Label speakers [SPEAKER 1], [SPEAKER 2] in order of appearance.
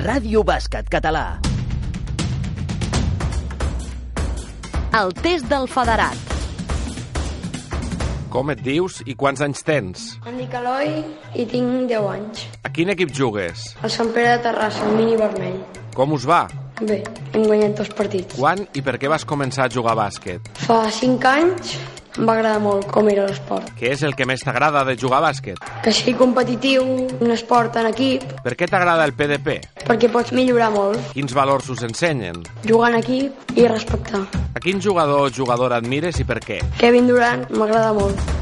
[SPEAKER 1] Ràdio Bàsquet Català.
[SPEAKER 2] El test del federat.
[SPEAKER 3] Com et dius i quants anys tens?
[SPEAKER 4] Em dic Eloi i tinc 10 anys.
[SPEAKER 3] A quin equip jugues?
[SPEAKER 4] El Sant Pere de Terrassa, un mini vermell.
[SPEAKER 3] Com us va?
[SPEAKER 4] Bé, hem guanyat dos partits.
[SPEAKER 3] Quan i per què vas començar a jugar a bàsquet?
[SPEAKER 4] Fa 5 anys em va agradar molt com era l'esport.
[SPEAKER 3] Què és el que més t'agrada de jugar a bàsquet?
[SPEAKER 4] Que sigui competitiu, un esport en equip,
[SPEAKER 3] Per què t'agrada el PDP?
[SPEAKER 4] perquè pots millorar molt,
[SPEAKER 3] Quins valors us ensenyen?
[SPEAKER 4] jugar en equip i respectar.
[SPEAKER 3] A quin jugador o jugadora admires i per què?
[SPEAKER 4] Kevin Durant m'agrada molt.